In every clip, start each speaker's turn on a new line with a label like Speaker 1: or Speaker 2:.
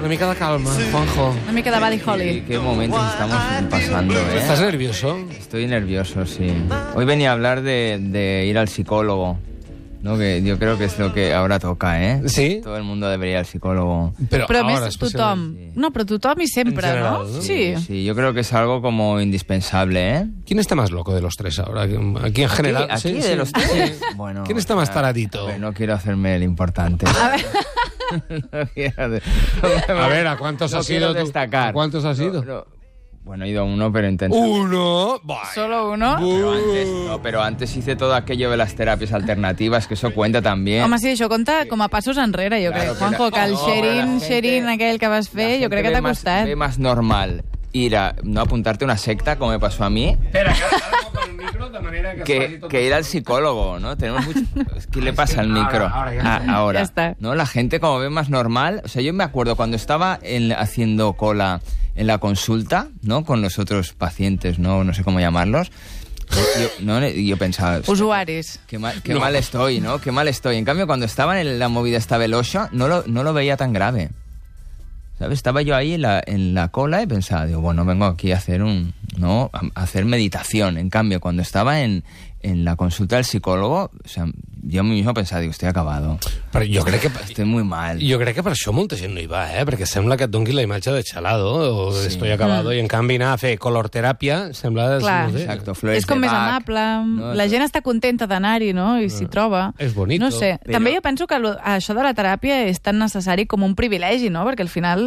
Speaker 1: Una mica de calma, Juanjo.
Speaker 2: Una mica de Buddy
Speaker 3: Y
Speaker 2: Holly.
Speaker 3: qué momentos estamos pasando, ¿eh?
Speaker 1: ¿Estás nervioso?
Speaker 3: Estoy nervioso, sí. Hoy venía a hablar de, de ir al psicólogo, ¿no? Que yo creo que es lo que ahora toca, ¿eh?
Speaker 1: Sí.
Speaker 3: Todo el mundo debería ir al psicólogo.
Speaker 1: Però,
Speaker 2: Però a
Speaker 1: ara,
Speaker 2: més, tothom.
Speaker 1: especialment.
Speaker 2: No, però tothom i sempre,
Speaker 1: En general,
Speaker 2: no?
Speaker 1: no?
Speaker 2: Sí.
Speaker 3: Sí, yo creo que es algo como indispensable, ¿eh?
Speaker 1: ¿Quién está más loco de los tres ahora? Aquí en general.
Speaker 3: Aquí,
Speaker 1: Sí,
Speaker 3: aquí
Speaker 1: sí.
Speaker 3: de los tres.
Speaker 1: Sí.
Speaker 3: Bueno,
Speaker 1: ¿Quién está más
Speaker 3: ah,
Speaker 1: taradito?
Speaker 3: a ver, no quiero hacerme el importante. A ver,
Speaker 1: A ver, ¿a cuántos has ido tú?
Speaker 3: Destacar.
Speaker 1: ¿A cuántos has ido?
Speaker 3: No, no. bueno, he ido a uno, pero intenté.
Speaker 1: Uno. Bueno.
Speaker 2: Solo uno.
Speaker 3: Pero antes, no, pero antes hice todo aquello de las terapias alternativas, que eso cuenta también.
Speaker 2: Home, sí, això compta com a passos enrere, jo
Speaker 3: Claro,
Speaker 2: crec. Juanjo,
Speaker 3: pero-
Speaker 2: que el
Speaker 3: No, la
Speaker 2: xerin,
Speaker 3: gente-
Speaker 2: xerin aquell que vas
Speaker 3: La
Speaker 2: fer, jo
Speaker 3: gente
Speaker 2: crec que ¿eh?
Speaker 3: ve
Speaker 2: t'ha
Speaker 3: más-
Speaker 2: costat.
Speaker 3: Ve más normal ir a no apuntarte a una secta, como me pasó a mí,
Speaker 1: Espera, que ara toco el micro de manera que, es
Speaker 3: que, que ir al psicólogo, ¿no? Tenemos mucho... ¿Qué le pasa al micro?
Speaker 1: ahora, ahora, ya
Speaker 3: Ah, ahora.
Speaker 2: Ya está.
Speaker 3: ¿No? La gente como ve más normal. O sea, yo me acuerdo cuando estaba en- haciendo cola en la consulta, ¿no? Con los otros pacientes, ¿no? No sé cómo llamarlos. Yo, no, yo pensaba...
Speaker 2: Usuaris.
Speaker 3: Qué mal, qué mal estoy, ¿no? Qué mal estoy. En cambio, cuando estaba en la movida esta velocha, no lo, no lo veía tan grave. ¿Sabes? Estaba yo ahí en la, en la cola y pensaba, digo, bueno, vengo aquí a hacer un. ¿No? A- a hacer meditación. En cambio, cuando estaba en, en la consulta del psicólogo, o sea, yo mismo pensaba, digo, estoy acabado.
Speaker 1: Però jo crec que...
Speaker 3: Estoy muy mal.
Speaker 1: Jo crec que per això molta gent no hi va, eh? perquè sembla que et donqui la imatge de xalado o sí. estoy acabado, mm. i en canvi anar a fer color teràpia sembla...
Speaker 2: Clar.
Speaker 1: No sé.
Speaker 3: Exacto, flores
Speaker 2: És com
Speaker 3: de
Speaker 2: més
Speaker 3: Bach,
Speaker 2: amable,
Speaker 3: ¿no? Mm.
Speaker 2: la gent està contenta d'anar-hi, no? I s'hi troba.
Speaker 1: És bonito.
Speaker 2: No sé.
Speaker 3: Però-
Speaker 2: També jo penso que lo, això de la teràpia és tan necessari com un privilegi, no? Perquè al final,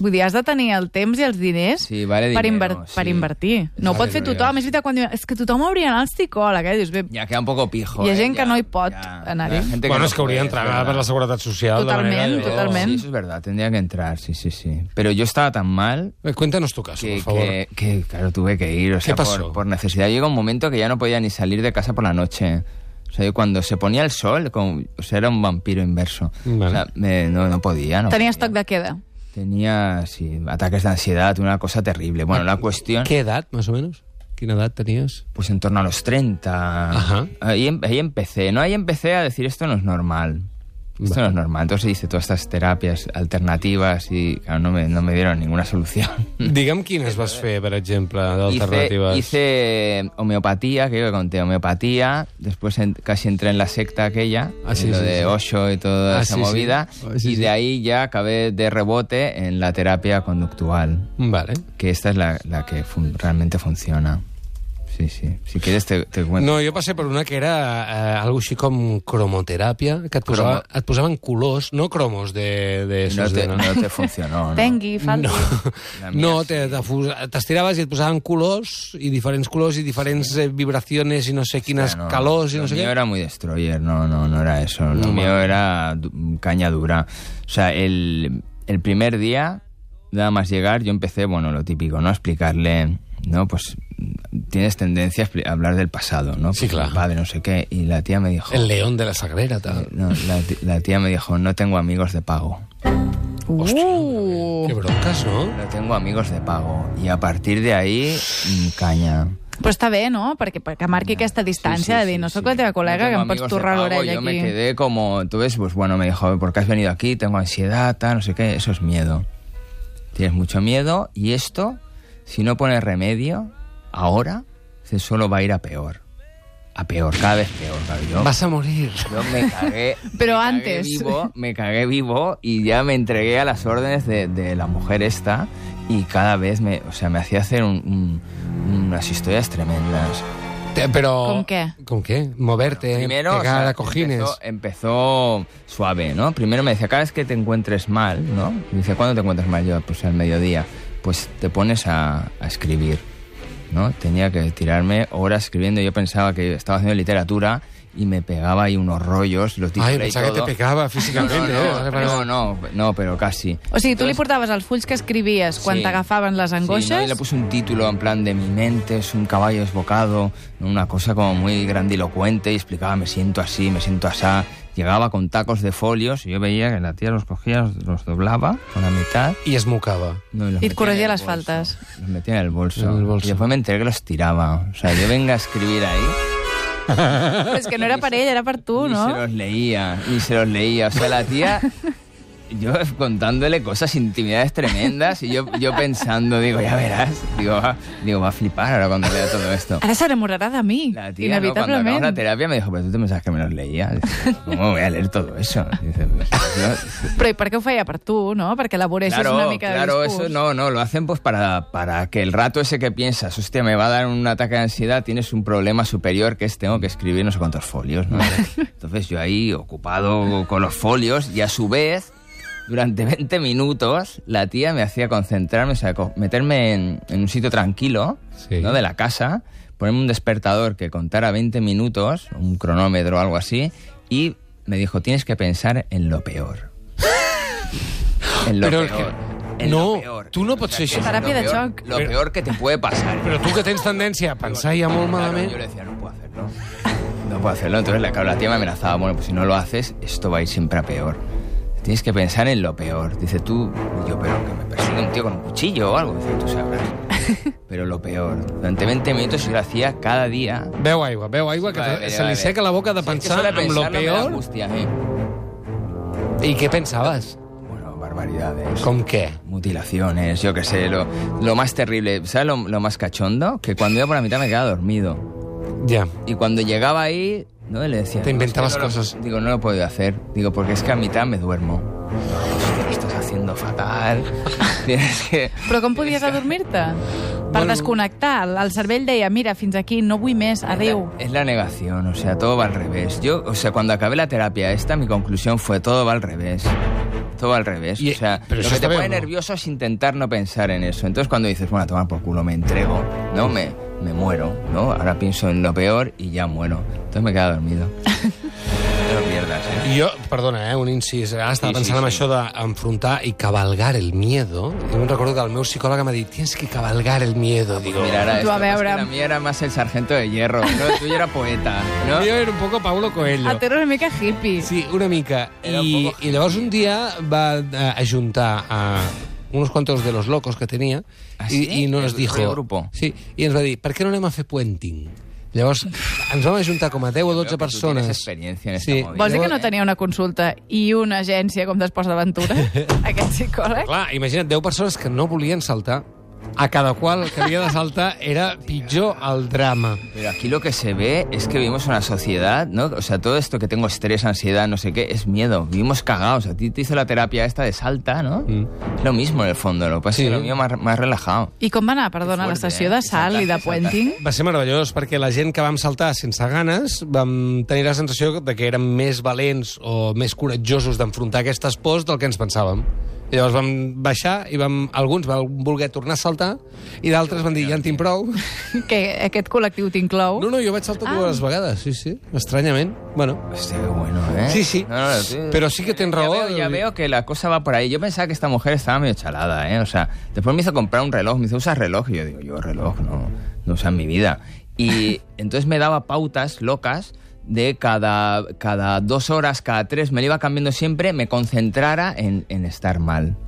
Speaker 2: vull dir, has de tenir el temps i els diners
Speaker 3: Sí, vale
Speaker 2: per,
Speaker 3: dinero, sí.
Speaker 2: per invertir. No ho pot fer tothom. És veritat, quan diuen, és que tothom hauria d'anar al psicòleg, eh? Dius, bé,
Speaker 3: Ya queda un poco pijo.
Speaker 2: Hi ha
Speaker 3: ¿eh?
Speaker 2: gent que
Speaker 3: Ya,
Speaker 2: no hi pot
Speaker 3: ya.
Speaker 2: anar-hi.
Speaker 3: Hay gente
Speaker 1: Bueno,
Speaker 3: no
Speaker 1: és que hauria
Speaker 3: puede,
Speaker 1: d'entrar
Speaker 3: es verdad.
Speaker 1: per la Seguretat Social de
Speaker 2: Totalment,
Speaker 1: manera...
Speaker 3: Pero-
Speaker 2: totalment.
Speaker 3: Sí, eso es verdad, tendría que entrar, sí, sí, sí. Pero yo estaba tan mal
Speaker 1: Eh, Cuéntanos tu caso,
Speaker 3: que,
Speaker 1: por favor.
Speaker 3: que- que, claro, tuve que ir, o sea,
Speaker 1: pasó?
Speaker 3: Por, por necesidad. Llega un momento que ya no podía ni salir de casa por la noche. O sea, yo cuando se ponía el sol, como- o sea, era un vampiro inverso.
Speaker 1: Vale.
Speaker 3: O sea, me- no, no podía, ¿no?
Speaker 2: tenies toc de queda.
Speaker 3: Tenía, sí, ataques de ansiedad, una cosa terrible. Bueno, la cuestión,
Speaker 1: Què edat, més o menos? Quina edat tenies?
Speaker 3: pues en torno a los 30.
Speaker 1: Ajá.
Speaker 3: Ahí, em- ahí empecé, ¿no? Ahí empecé a decir, esto no es normal. Esto no es normal. Entonces hice todas estas terapias alternativas y, claro, no me, no me dieron ninguna solución.
Speaker 1: Digue'm quines vas fer, per exemple, d'alternatives.
Speaker 3: Hice, hice homeopatía, que yo que conté, homeopatía. Después en- casi entré en la secta aquella,
Speaker 1: Ah, sí,
Speaker 3: en lo
Speaker 1: sí,
Speaker 3: de
Speaker 1: sí.
Speaker 3: Osho y toda
Speaker 1: Ah,
Speaker 3: esa
Speaker 1: sí, sí.
Speaker 3: movida.
Speaker 1: Ah, sí,
Speaker 3: y
Speaker 1: sí.
Speaker 3: de ahí ya acabé de rebote en la terapia conductual,
Speaker 1: Vale.
Speaker 3: que esta es la, la que fun- realmente funciona. Sí, sí. Si quieres te, te cuento.
Speaker 1: No, jo passé per una que era eh, algo així com cromoteràpia, que et, posava,
Speaker 3: Cromo.
Speaker 1: et posaven colors, no cromos de... de,
Speaker 3: Y no,
Speaker 1: esos de
Speaker 3: te, no te funcionó. ¿no?
Speaker 2: Tengui, falti.
Speaker 3: La mía
Speaker 1: No, te- te fus- t'estiraves i et posaven colors, i diferents colors, i diferents eh, vibracions, i no sé quines
Speaker 3: Hostia,
Speaker 1: calors, i no
Speaker 3: lo
Speaker 1: sé
Speaker 3: mío
Speaker 1: què.
Speaker 3: era muy destroyer, no, no, no era eso. Lo
Speaker 1: No,
Speaker 3: mío era du- caña dura. O sea, el, el primer día, nada más llegar, yo empecé, bueno, lo típico, ¿no? A Explicarle, ¿no? Pues tienes tendencia a expli- a hablar del pasado, ¿no?
Speaker 1: Sí,
Speaker 3: Pues,
Speaker 1: claro.
Speaker 3: mi Padre, no sé qué. Y la tía me dijo... eh,
Speaker 1: El león de la Sagrera, tal.
Speaker 3: no, la, ti- la tía me dijo, no tengo amigos de pago.
Speaker 2: Uh!
Speaker 1: Que bronques, no?
Speaker 3: No tengo amigos de pago. Y a partir de ahí, mm, caña.
Speaker 2: Però està bé, no? Perquè, perquè marqui
Speaker 3: Ah,
Speaker 2: aquesta distància de dir, no sóc la teva col·lega,
Speaker 3: No
Speaker 2: que
Speaker 3: tengo
Speaker 2: em pots
Speaker 3: amigos de
Speaker 2: torrar
Speaker 3: pago,
Speaker 2: l'orella
Speaker 3: Yo me
Speaker 2: aquí.
Speaker 3: quedé como, entonces, pues bueno, me dijo, ¿por qué has venido aquí? Tengo ansiedad, tal, no sé qué. Eso es miedo. Tienes mucho miedo y esto, si no pones remedio, ahora, se solo va a ir a peor. A peor, cada vez peor, claro. Yo,
Speaker 1: Vas a morir.
Speaker 3: yo me cagué.
Speaker 2: Pero
Speaker 3: me cagué
Speaker 2: antes.
Speaker 3: vivo, me cagué vivo y ya me entregué a las órdenes de, de la mujer esta y cada vez me, o sea, me hacía hacer un- un- unas historias tremendas.
Speaker 1: Te- Però...
Speaker 2: Com què?
Speaker 1: Com què? Moverte,
Speaker 3: Primero, o
Speaker 1: pegar
Speaker 3: sea,
Speaker 1: a cojines.
Speaker 3: Empezó, empezó suave, ¿no? Primero me decía, cada vez que te encuentres mal, ¿no? Me dice, ¿cuándo te encuentras mal? Yo, pues al mediodía. Pues te pones a, a escribir, ¿no? Tenía que tirarme horas escribiendo. Yo pensaba que estaba haciendo literatura y me pegaba ahí unos rollos, los
Speaker 1: Ai,
Speaker 3: dibujé y
Speaker 1: pensava que te
Speaker 3: todo.
Speaker 1: pegava físicament,
Speaker 3: no,
Speaker 1: eh? Ara,
Speaker 3: no, no, no, no, pero casi.
Speaker 2: O sigui, tu li
Speaker 3: Entonces-
Speaker 2: portaves els fulls que escrivies quan
Speaker 3: Sí.
Speaker 2: t'agafaven les
Speaker 3: Sí, ¿no? Y
Speaker 2: angoixes?
Speaker 3: le puse un título en plan de mi mente es un caballo desbocado, una cosa como muy grandilocuente y explicaba me siento así, me siento asá. Llegaba con tacos de folios y yo veía que la tía los cogía, los- los doblaba con la mitad.
Speaker 1: I es mocava.
Speaker 3: No, los
Speaker 2: Y
Speaker 3: metía
Speaker 2: corregía
Speaker 3: en el
Speaker 2: las
Speaker 3: bolso.
Speaker 2: faltas.
Speaker 3: Los metía en el bolso.
Speaker 1: En el bolso.
Speaker 3: Y después me enteré que los tiraba. O sea, yo venga a escribir ahí.
Speaker 2: Però és que no era per ell, era per tu,
Speaker 3: y
Speaker 2: no?
Speaker 3: se los leía, y se los leía. O sea, la tía yo contándole cosas, intimidades tremendas, y yo, yo pensando, digo, ya verás, digo va, digo, va a flipar ahora cuando vea todo esto.
Speaker 2: Ara s'enamorarà de mi,
Speaker 3: La tía, ¿no? cuando acabamos
Speaker 2: inevitablement.
Speaker 3: la terapia, me dijo, pero tú te pensabas que me los leía. Dice, ¿Cómo voy a leer todo eso? Dice, pues, yo-
Speaker 2: Però i per què ho feia? Per tu, no? Perquè elaboreixis una mica
Speaker 3: claro,
Speaker 2: de discurs.
Speaker 3: eso no, no, lo hacen pues para, para que el rato ese que piensas, hostia, me va a dar un ataque de ansiedad, tienes un problema superior que es tengo que escribir no sé cuántos folios, ¿no? Entonces yo ahí ocupado con los folios y a su vez, durante 20 minutos, la tía me hacía concentrarme, o sea, co- meterme en, en un sitio tranquilo,
Speaker 1: Sí.
Speaker 3: ¿no? De la casa, ponerme un despertador que contara 20 minutos, un cronómetro o algo así, y me dijo, tienes que pensar en lo peor. En lo
Speaker 1: Però el
Speaker 3: peor.
Speaker 1: que-
Speaker 3: en
Speaker 1: no,
Speaker 3: lo peor.
Speaker 1: tu no pots fer
Speaker 3: que
Speaker 1: això.
Speaker 3: és
Speaker 2: Teràpia
Speaker 3: lo
Speaker 2: de
Speaker 3: peor-
Speaker 2: xoc.
Speaker 3: Lo
Speaker 1: Però-
Speaker 3: peor que te puede pasar.
Speaker 1: Però tu que tens tendència a pensar ja molt
Speaker 3: Claro,
Speaker 1: malament...
Speaker 3: Yo le decía, no puedo hacerlo. No puedo hacerlo. Entonces la, claro, la tía me amenazaba, bueno, pues si no lo haces, esto va a ir siempre a peor. Tienes que pensar en lo peor. Dice tú, y yo, pero que me persigue un tío con un cuchillo o algo. Dice, tú sabrás. Pero lo peor. Durante 20 minutos yo lo hacía cada día.
Speaker 1: Beu aigua, beu aigua, que
Speaker 3: Vale,
Speaker 1: se li
Speaker 3: vale.
Speaker 1: seca la boca de
Speaker 3: Sí, es que
Speaker 1: pensar
Speaker 3: solo de
Speaker 1: en lo
Speaker 3: pensarlo me da
Speaker 1: peor.
Speaker 3: angustia, eh.
Speaker 1: I què pensaves?
Speaker 3: Bueno, barbaridades.
Speaker 1: Com què?
Speaker 3: Mutilaciones, yo qué sé, lo, lo más terrible. ¿Sabes lo, lo más cachondo? Que cuando iba por la mitad me quedaba dormido.
Speaker 1: Ja.
Speaker 3: Y cuando llegaba ahí, ¿no? Le decía...
Speaker 1: Te
Speaker 3: "No,
Speaker 1: inventabas
Speaker 3: es que no lo-
Speaker 1: cosas".
Speaker 3: digo, no lo puedo hacer. Digo, porque es que a mitad me duermo. Hostia, lo estás haciendo fatal. Tienes que...
Speaker 2: Però com podies adormir-te? Per
Speaker 1: Bueno.
Speaker 2: desconnectar. El cervell deia, mira, fins aquí, no vull més, adéu.
Speaker 3: Es la negación, o sea, todo va al revés. Yo, o sea, cuando acabé la terapia esta, mi conclusión fue todo va al revés. Todo va al revés.
Speaker 1: Y-
Speaker 3: o sea,
Speaker 1: pero
Speaker 3: lo
Speaker 1: eso
Speaker 3: que
Speaker 1: está
Speaker 3: te
Speaker 1: bien,
Speaker 3: pone
Speaker 1: ¿no?
Speaker 3: nervioso es intentar no pensar en eso. Entonces cuando dices, bueno, a tomar por culo, me entrego, ¿no? Me, me muero, ¿no? Ahora pienso en lo peor y ya muero. Entonces me quedo dormido. no te lo pierdas, ¿eh?
Speaker 1: I Jo, perdona, eh, un incís. Ara estava
Speaker 3: Sí,
Speaker 1: pensant
Speaker 3: sí,
Speaker 1: en
Speaker 3: sí.
Speaker 1: això d'enfrontar i cabalgar el miedo. I em recordo que el meu psicòleg m'ha dit tienes que cabalgar el miedo. Digo,
Speaker 3: Mira, ahora
Speaker 2: Tú
Speaker 3: esto,
Speaker 2: a ver,
Speaker 3: pues que
Speaker 2: Abraham.
Speaker 3: la mía era más el sargento de hierro. ¿no? Tú ya era poeta, ¿no?
Speaker 1: yo era un poco Paulo Coelho.
Speaker 2: Ah, t'era una mica hippie.
Speaker 1: Sí, una mica.
Speaker 3: Era un
Speaker 1: I,
Speaker 3: poco
Speaker 1: I llavors un dia va eh, ajuntar a unos cuantos de los locos que tenia
Speaker 3: Ah,
Speaker 1: i,
Speaker 3: sí?
Speaker 1: i no ens
Speaker 3: El-
Speaker 1: dijo...
Speaker 3: el grupo.
Speaker 1: Sí, i ens va dir, per què no anem a fer puenting? Llavors, ens vam ajuntar com a 10 o 12
Speaker 3: que tu
Speaker 1: persones.
Speaker 3: tienes experiencia en esta movida.
Speaker 2: Vols dir que
Speaker 1: Llavors-
Speaker 2: no tenia una consulta i una agència com d'Esports d'Aventura? Aquest psicòleg?
Speaker 1: Clar, imagina't, 10 persones que no volien saltar, a cada qual que havia de saltar era pitjor el drama.
Speaker 3: Pero aquí lo que se ve es que vivimos en una sociedad, ¿no? O sea, todo esto que tengo estrés, ansiedad, no sé qué, es miedo. Vivimos cagados. A ti te hizo la terapia esta de salta, ¿no?
Speaker 1: Mm.
Speaker 3: Es Lo mismo en el fondo, lo que pasa es
Speaker 1: Sí.
Speaker 3: que lo mío más, más relajado.
Speaker 2: I com va anar, perdona,
Speaker 3: Que
Speaker 2: la
Speaker 3: fuerte,
Speaker 2: sessió
Speaker 3: eh?
Speaker 2: de salt i de
Speaker 3: Saltaste,
Speaker 2: puenting?
Speaker 1: Va ser meravellós perquè la gent que vam saltar sense ganes vam tenir la sensació de que érem més valents o més coratjosos d'enfrontar aquestes pors del que ens pensàvem. I llavors vam baixar i vam, alguns van voler tornar a saltar i d'altres van dir, ja en tinc prou.
Speaker 2: Que aquest col·lectiu t'inclou?
Speaker 1: No, no, jo vaig saltar dues vegades, sí, sí, estranyament. Bueno,
Speaker 3: Hostia, qué bueno, ¿eh?
Speaker 1: Sí, sí. Pero sí que ten
Speaker 3: ya
Speaker 1: razón.
Speaker 3: veo- Ya veo que la cosa va por ahí. Yo pensaba que esta mujer estaba medio chalada, ¿eh? O sea, después me hizo comprar un reloj. Me dice, ¿usas reloj? Y yo digo, yo reloj no, no usa en mi vida. Y entonces me daba pautas locas de cada, cada dos horas, cada tres, me lo iba cambiando siempre, me concentrara en, en estar mal.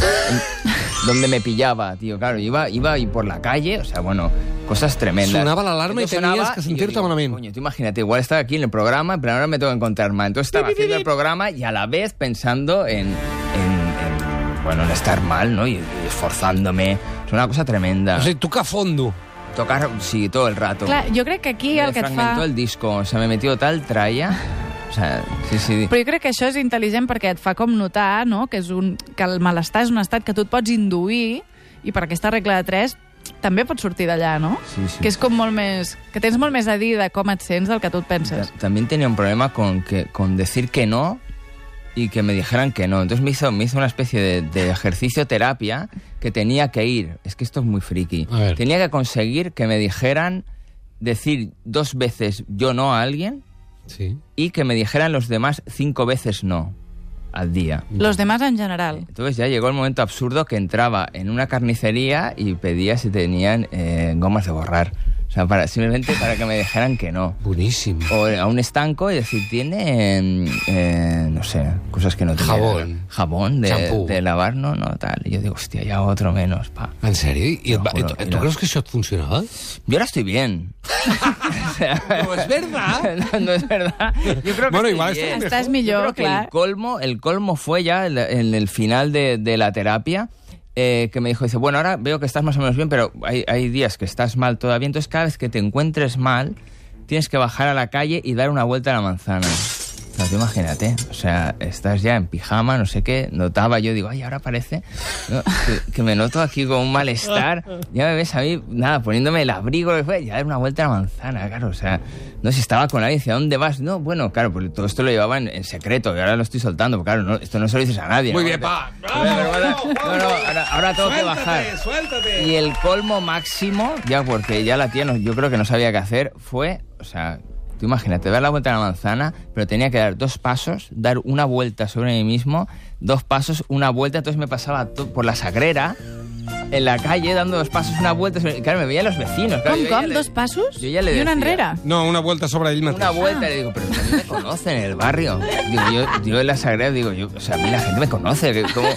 Speaker 3: En- donde me pillaba, tío, claro, iba, iba y por la calle, o sea, bueno, cosas tremendas.
Speaker 1: Sonaba la alarma y
Speaker 3: Entonces
Speaker 1: tenías
Speaker 3: sonaba
Speaker 1: que
Speaker 3: y yo
Speaker 1: sentirte
Speaker 3: digo,
Speaker 1: malamente.
Speaker 3: "Coño, Tú imagínate, igual estaba aquí en el programa, pero ahora me tengo que encontrar mal. Entonces estaba haciendo el programa y a la vez pensando en, en- en, bueno, en estar mal, ¿no? Y, y esforzándome. Es una cosa tremenda.
Speaker 1: o sigui, tocar fondo.
Speaker 3: Tocar, sí, todo el rato.
Speaker 2: Clar, jo crec que aquí
Speaker 3: me
Speaker 2: el que et
Speaker 3: fragmentó
Speaker 2: fa...
Speaker 3: el disco, o sea, me metió tal tralla. O sea, sí, sí.
Speaker 2: Però jo crec que això és intel·ligent perquè et fa com notar no? que, és un, que el malestar és un estat que tu et pots induir i per aquesta regla de 3 també pots sortir d'allà, no?
Speaker 3: Sí, sí.
Speaker 2: Que és com molt més... Que tens molt més a dir de com et sents del que tu et penses.
Speaker 3: Ta- También tenía un problema con, que, con decir que no y que me dijeran que no. Entonces me hizo, me hizo una especie de, de ejercicio terapia que tenía que ir. Es que esto es muy friki.
Speaker 1: A ver.
Speaker 3: Tenía que conseguir que me dijeran decir dos veces yo no a alguien
Speaker 1: Sí.
Speaker 3: y que me dijeran los demás cinco veces no al día.
Speaker 2: Los demás en general.
Speaker 3: Entonces ya llegó el momento absurdo que entraba en una carnicería y pedía si tenían eh, gomas de borrar. O sea, para, simplemente para que me dijeran que no.
Speaker 1: Buenísimo.
Speaker 3: O eh, a un estanco y decir, tiene, mm, eh, no sé, cosas que no tiene.
Speaker 1: Jabón.
Speaker 3: Jabón de,
Speaker 1: Champú.
Speaker 3: de lavar, no, no, tal. Y yo digo, hostia, ya otro menos, pa.
Speaker 1: En sèrio? I et va,
Speaker 3: Te lo
Speaker 1: tu,
Speaker 3: juro,
Speaker 1: tu
Speaker 3: mira.
Speaker 1: creus que això et funcionava?
Speaker 3: Yo ahora estoy bien. O sea,
Speaker 1: No, és verdad.
Speaker 3: no, no es verdad. Yo creo que
Speaker 1: Bueno,
Speaker 3: estoy
Speaker 1: igual
Speaker 3: bien.
Speaker 1: estoy mejor.
Speaker 2: Estàs
Speaker 3: Yo
Speaker 2: millor,
Speaker 3: creo que
Speaker 2: clar.
Speaker 3: el colmo, el colmo fue ya el- en el, final de, de la terapia. eh, que me dijo, dice, bueno, ahora veo que estás más o menos bien, pero hay, hay días que estás mal todavía, entonces cada vez que te encuentres mal, tienes que bajar a la calle y dar una vuelta a la manzana. No, tú imagínate, o sea, estás ya en pijama, no sé qué, notaba yo, digo, ay, ahora parece ¿no? que, que me noto aquí con un malestar, ya me ves a mí, nada, poniéndome el abrigo, lo que fue, y a dar una vuelta a la manzana, claro, o sea, no sé, estaba con alguien, decía, ¿dónde vas? No, bueno, claro, porque todo esto lo llevaba en, en secreto, y ahora lo estoy soltando, porque claro, no, esto no se lo dices a nadie.
Speaker 1: Muy
Speaker 3: ¿no?
Speaker 1: bien, pa.
Speaker 3: Pero, pero, bueno, no, no, ahora, ahora tengo que bajar.
Speaker 1: Suéltate, suéltate.
Speaker 3: Y el colmo máximo, ya porque ya la tía no- yo creo que no sabía qué hacer, fue, o sea, tú imagínate, dar la vuelta a la manzana, pero tenía que dar dos pasos, dar una vuelta sobre mí mismo, dos pasos, una vuelta, entonces me pasaba to- por la sagrera, en la calle, dando dos pasos, una vuelta, sobre- claro, me veían los vecinos. Claro,
Speaker 2: Com,
Speaker 3: yo ya
Speaker 2: com?
Speaker 3: le-
Speaker 2: Dos passos?
Speaker 3: Jo ja li
Speaker 2: I una
Speaker 3: decía.
Speaker 2: enrere?
Speaker 1: No, una vuelta sobre ell mateix.
Speaker 3: Una vuelta y le digo, pero si a mí me conocen en el barrio. Digo, yo, yo en la sagrera digo, yo, o sea, a mí la gente me conoce. que ¿Cómo?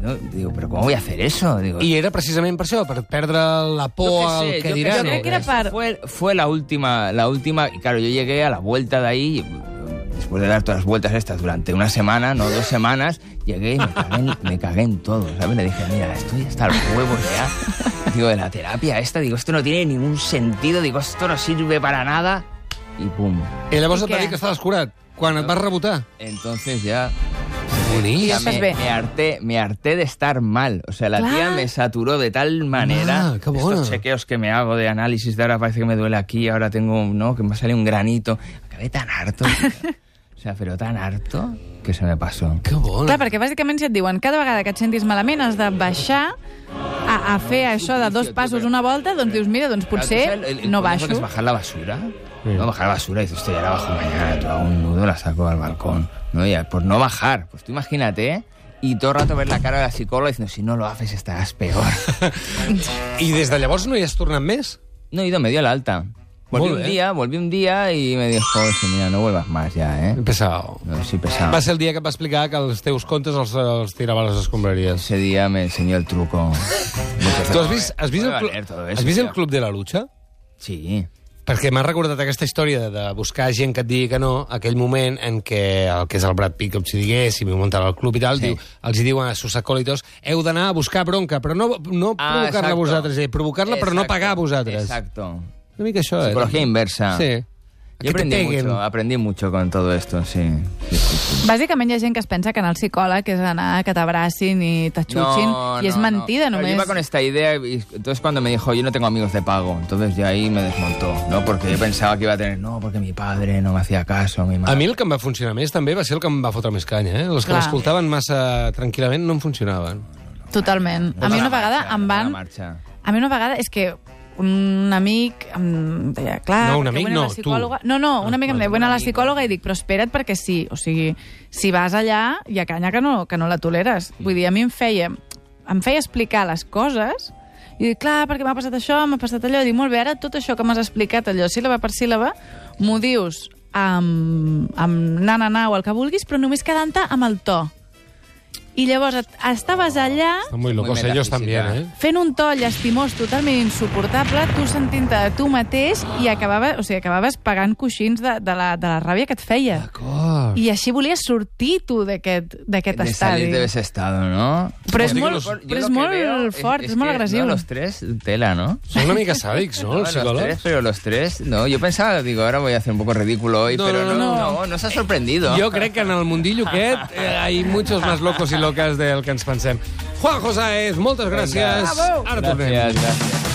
Speaker 3: No, digo, pero ¿cómo voy a hacer eso? Digo,
Speaker 1: I era precisament per això, per perdre la por
Speaker 3: Yo
Speaker 1: al
Speaker 3: qué sé,
Speaker 1: que
Speaker 3: yo
Speaker 1: diran. o
Speaker 2: sé. Yo creo que era para-
Speaker 3: Fue, fue la última, la última, y claro, yo llegué a la vuelta de ahí, y, después de dar todas las vueltas estas durante una semana, no dos semanas, llegué y me cagué en, me cagué en todo, ¿sabes? Le dije, mira, estoy hasta el huevo ya. Digo, de la terapia esta, digo, esto no tiene ningún sentido, digo, esto no sirve para nada, y pum.
Speaker 1: I llavors
Speaker 2: I
Speaker 1: et va
Speaker 2: què?
Speaker 1: dir que estaves curat, quan et vas rebotar.
Speaker 3: Entonces ya...
Speaker 1: Bonic.
Speaker 3: ya
Speaker 2: estàs
Speaker 3: me,
Speaker 2: bé.
Speaker 3: me harté, me harté de estar mal. O sea, la
Speaker 2: Clar.
Speaker 3: tía me saturó de tal manera.
Speaker 1: Ah, qué bueno.
Speaker 3: estos chequeos que me hago de análisis de ahora parece que me duele aquí, ahora tengo, ¿no? Que me sale un granito. Acabé tan harto. tío. o sea, pero tan harto que se me pasó.
Speaker 1: Que bon.
Speaker 2: Clar, perquè bàsicament si et diuen cada vegada que et sentis malament has de baixar a, a fer això de dos passos una volta, doncs dius, mira, doncs
Speaker 3: Claro, tú sabes,
Speaker 2: potser
Speaker 3: el- el
Speaker 2: no
Speaker 3: consejo que
Speaker 2: baixo.
Speaker 3: Es bajar la basura. No bajar la basura y dices, estoy ya la bajo mañana, tú hago un nudo, la saco al balcón. No, ya, por no bajar. Pues tú imagínate, ¿eh? Y todo el rato ver la cara de la psicóloga diciendo, si no lo haces estarás peor.
Speaker 1: I des de llavors no hi has tornat més?
Speaker 3: No he ido, me dio el alta. Volví
Speaker 1: Muy
Speaker 3: un
Speaker 1: bien.
Speaker 3: día, volví un día y me dijo, "Sí, mira, no vuelvas más ya, ¿eh?
Speaker 1: Pesao.
Speaker 3: No, sí, pesado.
Speaker 1: Va ser el dia que et va explicar que els teus contes els, els tirava a les escombraries.
Speaker 3: Ese día me enseñó el truco.
Speaker 1: Tu has vist, has vist, el,
Speaker 3: Puede valer
Speaker 1: clu-
Speaker 3: todo
Speaker 1: has
Speaker 3: eso,
Speaker 1: vist el
Speaker 3: tío.
Speaker 1: Club de la Lucha?
Speaker 3: Sí.
Speaker 1: Perquè m'ha recordat aquesta història de- de buscar gent que et digui que no, aquell moment en què el que és el Brad Pitt, com si digués, i m'hi muntarà el club i tal,
Speaker 3: Sí.
Speaker 1: diu, els hi diuen a sus acólitos, heu d'anar a buscar bronca, però no, no provocar-la a
Speaker 3: Ah, exacto.
Speaker 1: vosaltres, eh, provocar-la però no
Speaker 3: Exacto,
Speaker 1: pagar a vosaltres.
Speaker 3: Exacto.
Speaker 1: Una mica això, eh?
Speaker 3: Psicología inversa.
Speaker 1: Sí.
Speaker 3: Yo aprendí mucho, aprendí mucho con todo esto, sí. Sí, sí, sí.
Speaker 2: Bàsicament hi ha gent que es pensa que anar al psicòleg és anar que t'abracin i t'axutxin, i és mentida
Speaker 3: no. Pero Yo
Speaker 2: només.
Speaker 3: iba con esta idea y entonces cuando me dijo, yo no tengo amigos de pago, entonces ya ahí me desmontó, ¿no? Porque yo pensaba que iba a tener, no, porque mi padre no me hacía caso, mi madre.
Speaker 1: A mi el que em va funcionar més també va ser el que em va fotre més canya, eh? Els que
Speaker 2: Clar.
Speaker 1: m'escoltaven massa tranquil·lament no em funcionaven.
Speaker 2: Totalment. A mi una vegada em van...
Speaker 3: marcha.
Speaker 2: A mi una vegada és que un amic em deia, clar...
Speaker 1: No, un
Speaker 2: perquè
Speaker 1: amic
Speaker 2: vull anar
Speaker 1: no,
Speaker 2: a la
Speaker 1: tu. Ah,
Speaker 2: psicòloga. No, no, un amic em deia, bueno, a la
Speaker 3: amic.
Speaker 2: psicòloga, i dic, però espera't perquè sí. O sigui, si vas allà, hi ha canya que no, que no la toleres.
Speaker 1: Mm.
Speaker 2: Vull dir, a mi em feia, em feia explicar les coses i dic, clar, perquè m'ha passat això, m'ha passat allò. I dic, molt bé, ara tot això que m'has explicat, allò síl·laba per síl·laba, m'ho dius amb, amb na-na-na o el que vulguis, però només quedant-te amb el to. I llavors et-
Speaker 1: Oh,
Speaker 2: estaves allà...
Speaker 1: Estan muy locos
Speaker 3: Muy
Speaker 1: ellos
Speaker 3: metafísica.
Speaker 1: también, eh?
Speaker 2: fent un to llastimós totalment insuportable, tu sentint-te de tu mateix i acabava, o sigui, acabaves pagant coixins de, de, la, de la ràbia que et feia.
Speaker 1: Cor.
Speaker 2: I així volies sortir tu d'aquest d'aquest
Speaker 3: De
Speaker 2: estadi.
Speaker 3: salir de ese estado, ¿no?
Speaker 2: Però
Speaker 1: Vols
Speaker 2: és
Speaker 1: dir que
Speaker 2: molt,
Speaker 1: los-
Speaker 3: Pues
Speaker 2: però
Speaker 3: Yo lo
Speaker 2: és
Speaker 3: que veo
Speaker 2: molt fort, és, molt
Speaker 3: que,
Speaker 2: agressiu.
Speaker 3: No, los tres, tela, ¿no?
Speaker 1: Són una mica sàdics, no,
Speaker 3: No,
Speaker 1: els
Speaker 3: los tres,
Speaker 1: psicòlegs?
Speaker 3: pero los tres, no. Yo pensaba, digo, ahora voy a hacer un poco ridículo hoy,
Speaker 1: No,
Speaker 3: pero
Speaker 1: no,
Speaker 3: no,
Speaker 1: no,
Speaker 3: no,
Speaker 1: no.
Speaker 3: no, se ha sorprendido.
Speaker 1: Jo crec que en el mundillo aquest eh, hay muchos más locos y locas del que ens pensem. Juan Josaez, moltes gràcies. Ara tornem.
Speaker 3: Gracias, gracias.